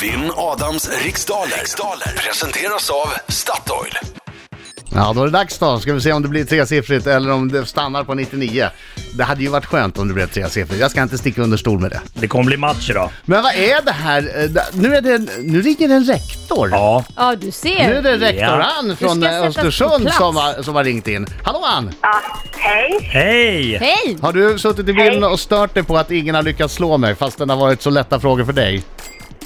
Vinn Adams riksdaler. riksdaler presenteras av Statoil. Ja, då är det dags då. Ska vi se om det blir tresiffrigt eller om det stannar på 99. Det hade ju varit skönt om det blev tresiffrigt. Jag ska inte sticka under stol med det. Det kommer bli match idag. Men vad är det här? Eh, det- Nu, är det, nu ringer en rektor. Ja. Ja, du Nu är ser. det rektor Ja. Ann från Nu ska jag eh, sättas på Östersund plats. som har, som har ringt in. Hallå Ann! Ja, hej. Hej! Hej! Har du suttit i bilen och stört dig på att ingen har lyckats slå mig fast det har varit så lätta frågor för dig?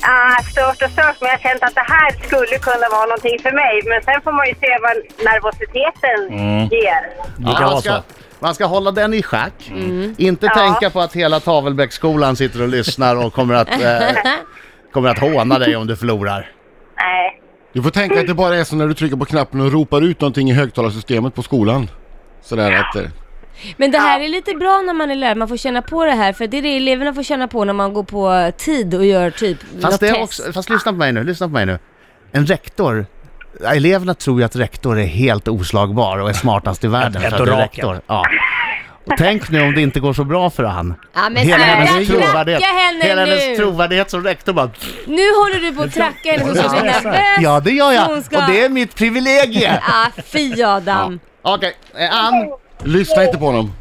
Ah, stört och stört, men jag har känt att det här skulle kunna vara någonting för mig. Men sen får man ju se vad nervositeten Mm. ger. Det kan vara man, ska, så. man ska hålla den i schack. Mm. Inte Ja. tänka på att hela Tavelbäcksskolan sitter och lyssnar och kommer att, eh, kommer att håna dig om du förlorar. Nej. Du får tänka att det bara är så när du trycker på knappen och ropar ut någonting i högtalarsystemet på skolan. Sådär att... eh, Men det här är lite bra när man är lärare, man får känna på det här för det är det eleverna får känna på när man går på tid och gör typ något Fast, det är test. också, fast lyssna på mig nu, lyssna på mig nu. En rektor, eleverna tror ju att rektor är helt oslagbar och är smartast i världen Ett för att du är orakel. rektor. Ja. Och tänk nu om det inte går så bra för han. Ja, men Hela snälla, hennes knacka trovärdighet, henne hela nu. hennes trovärdighet som rektor bara... Nu håller du på att tracka henne så hon blir nervös. Ja, det gör jag! Hon ska- Och det är mitt privilegie! Ah, fy Adam. Okej, eh, Ann. lyssna inte på honom.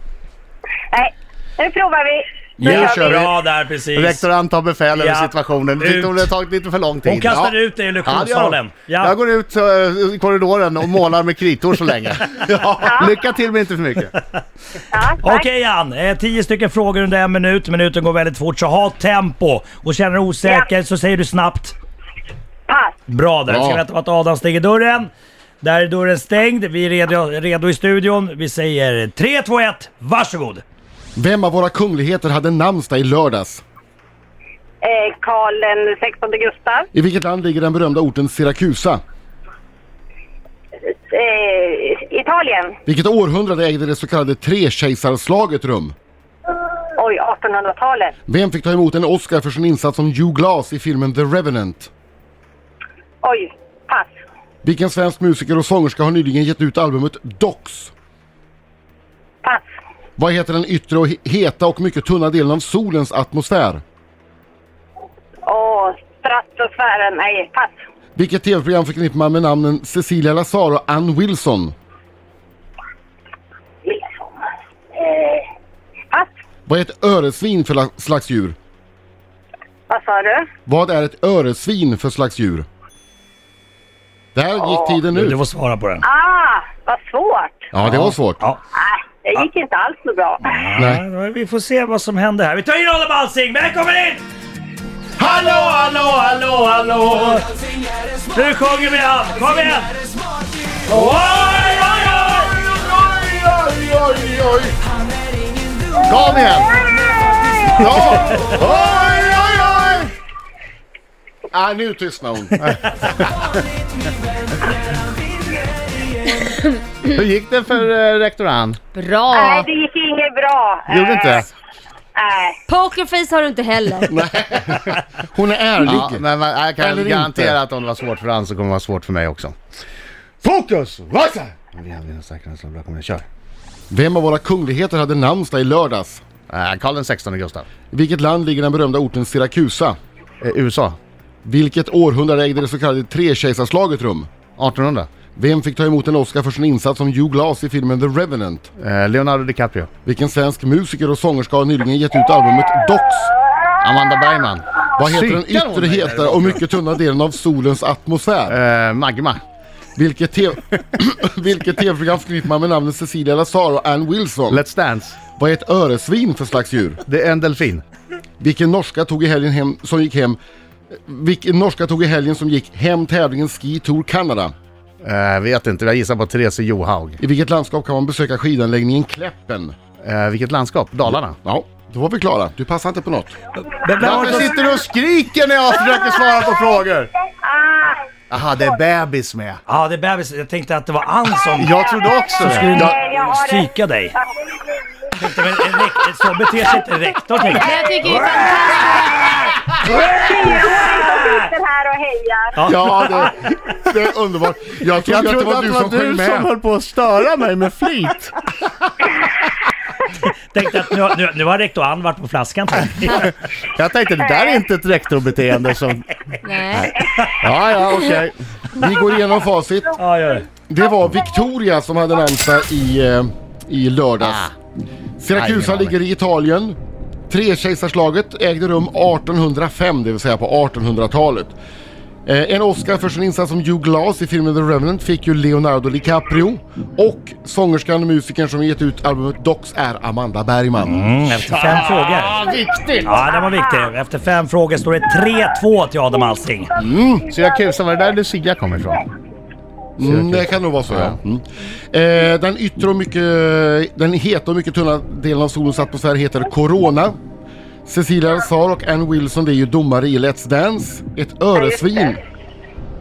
Nej, nu provar vi. Nu Ja, gör vi. bra där precis. Rektor Ann tar befäl över Ja. situationen. Det Ut. Tyckte hon hade tagit lite för lång tid. Hon kastar Ja. ut dig i Ja, det gör hon. lektionssalen. Jag går ut eh, i korridoren och målar med kritor så länge. Ja. Lycka till men inte för mycket. Ja, tack. Okej Ann, eh, tio stycken frågor under en minut. Minuten går väldigt fort så ha tempo. Och känner du osäker så säger du snabbt Pass. bra där. Jag ska Bra. vänta på att Adam stänger dörren. Där är dörren stängd. Vi är redo, redo i studion. Vi säger 3, 2, 1, varsågod! Vem av våra kungligheter hade namnsdag i lördags? Eh, Karl den 16 Gustav. I vilket land ligger den berömda orten Sirakusa? Eh, Italien. Vilket århundrade ägde det så kallade trekejsarslaget rum? Oj, 1800-talet. Vem fick ta emot en Oscar för sin insats som Hugh Glass i filmen The Revenant? Oj, pass. Vilken svensk musiker och sångerska har nyligen gett ut albumet Dox? Pass. Vad heter den yttre och he- heta och mycket tunna delen av solens atmosfär? Åh, stratosfären. Nej, pass. Vilket tv-program förknippar man med namnen Cecilia Lazar och Ann Wilson? Liksom. Eh, pass. Vad är ett öresvin för la- slags djur? Vad sa du? Vad är ett öresvin för slags djur? Där gick tiden Du, du ut. får svara på den. Ah, vad svårt. Ja, det var svårt. Ja. Nej, det gick inte alls så bra. Nej. Ja, Vi får se vad som händer här. Vi tar in Adam Alsing, välkommen in! Hallå, hallå, hallå, hallå! Nu sjunger vi han, kom igen! Oj, oj, oj, oj, oj, oj, oj! Kom igen! Ja! Oj, oj, oj! Ah, nu tystnar hon. Hur gick det för eh, rektor Ann? Bra! Nej, det gick inget bra. Eh, Gjorde inte? Nej. Pokerface har du inte heller. Hon är ärlig. Ja, men man- jag Eller kan inte. garantera att om det var svårt för Ann så kommer det vara svårt för mig också. Fokus! Vasa! Vi har en säkerhet som bra kommer. Kör! Vem av våra kungligheter hade namnsdag i lördags? Eh, Karl den 16 Gustav. I vilket land ligger den berömda orten Sirakusa? Eh, USA. Vilket århundrade ägde det så kallade trekejsarslaget rum? 1800. Vem fick ta emot en Oscar för sin insats som Hugh Glass i filmen The Revenant? Eh, Leonardo DiCaprio. Vilken svensk musiker och sångerska har nyligen gett ut albumet Dox? Amanda Bergman. Vad heter den Psykar hon yttre dig heta och mycket tunna delen av solens atmosfär? där? Eh, magma. Vilket te- vilket tv-program förknippar man med namnen Cecilia Lazar och Ann Wilson? Let's Dance. Vad är ett öresvin för slags djur? Det är en delfin. Vilken norska tog i helgen hem som gick hem vilken norska tog i helgen som gick hem tävlingen Ski Tour Canada? Eh, vet inte, jag gissar på Therese Johaug. I vilket landskap kan man besöka skidanläggningen Kläppen? Eh, vilket landskap? Dalarna. Ja, då var vi klara. Du passar inte på något. Men vem var Varför det sitter du och skriker när jag försöker svara på frågor? Aha, det är bebis med. Ja, det är bebis. Jag tänkte att det var Ann som Jag trodde också det. Nej, Eh, jag har det. psykade dig. Tänkte, men, en rekt- så beter sig inte en rektor, tänkte jag. Jag tycker det är fantastiskt. Sitter här och hejar. Ja, det, det är underbart. Jag trodde, Jag att det trodde var att du som sjöng med. höll på att störa mig med flit. Tänkte att nu, nu, nu har rektor Ann varit på flaskan. På. Jag tänkte det där är inte ett rektorbeteende som... Nej. Ja, ja, okej. Vi går igenom facit. Ja, gör det. Det var Victoria som hade namnsdag i, eh, i lördags. Ah. Siracusa Nej, ingen ligger i Italien. Trekejsarslaget ägde rum 1805, det vill säga på 1800-talet. Eh, en Oscar för sin insats som Hugh Glass i filmen The Revenant fick ju Leonardo DiCaprio. Och sångerskan och musikern som gett ut albumet Dox är Amanda Bergman. Mm. Mm, Efter fem frågor. viktigt! Ja, den var viktig. Efter fem frågor står det 3-2 till Adam Alsing. Mm, Syrakusa, var det där Lucia kommer ifrån? Mm, det kan nog vara så ja. Mm. Eh, den yttre och mycket, den heta och mycket tunna delen av solens atmosfär heter Corona. Cecilia Sar och Ann Wilson det är ju domare i Let's Dance. Ett öresvin.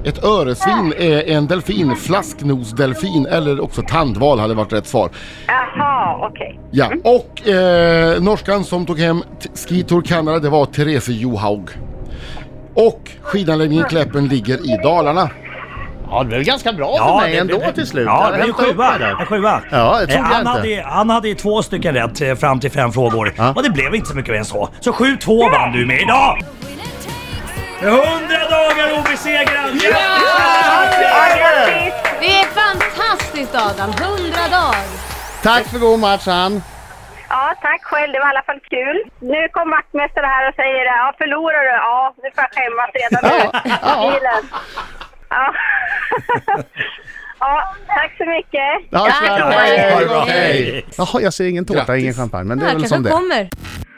Ett öresvin är en delfin, flasknosdelfin eller också tandval hade varit rätt svar. Jaha, okej. Ja, och eh, norskan som tog hem t- Ski Tour Canada det var Therese Johaug. Och skidanläggningen Kläppen ligger i Dalarna. Ja, det blev ganska bra för mig ändå till slut. Ja, Jag det blev en hämtade upp sjua. det där. En sjua. Ja, det trodde Eh, jag Ann inte. hade, ju- Ann hade ju två stycken rätt eh, fram till fem frågor. Ja. Och det blev inte så mycket mer än så. Så 7-2 vann du med idag! 100 dagar obesegrad! Okay. Det är fantastiskt Adam! 100 dagar! Tack för god match, Ann. Ja, tack själv. Det var i alla fall kul. Nu kom vaktmästaren här och säger ja, förlorar du? Ja, nu får jag skämmas redan nu. ja. Bilen. Ja. ja, tack så mycket. Ja, Tack. tack. Ha det bra. Jaha, jag ser ingen tårta, Grattis. ingen champagne, men det Ja, är väl kanske som det är. kommer.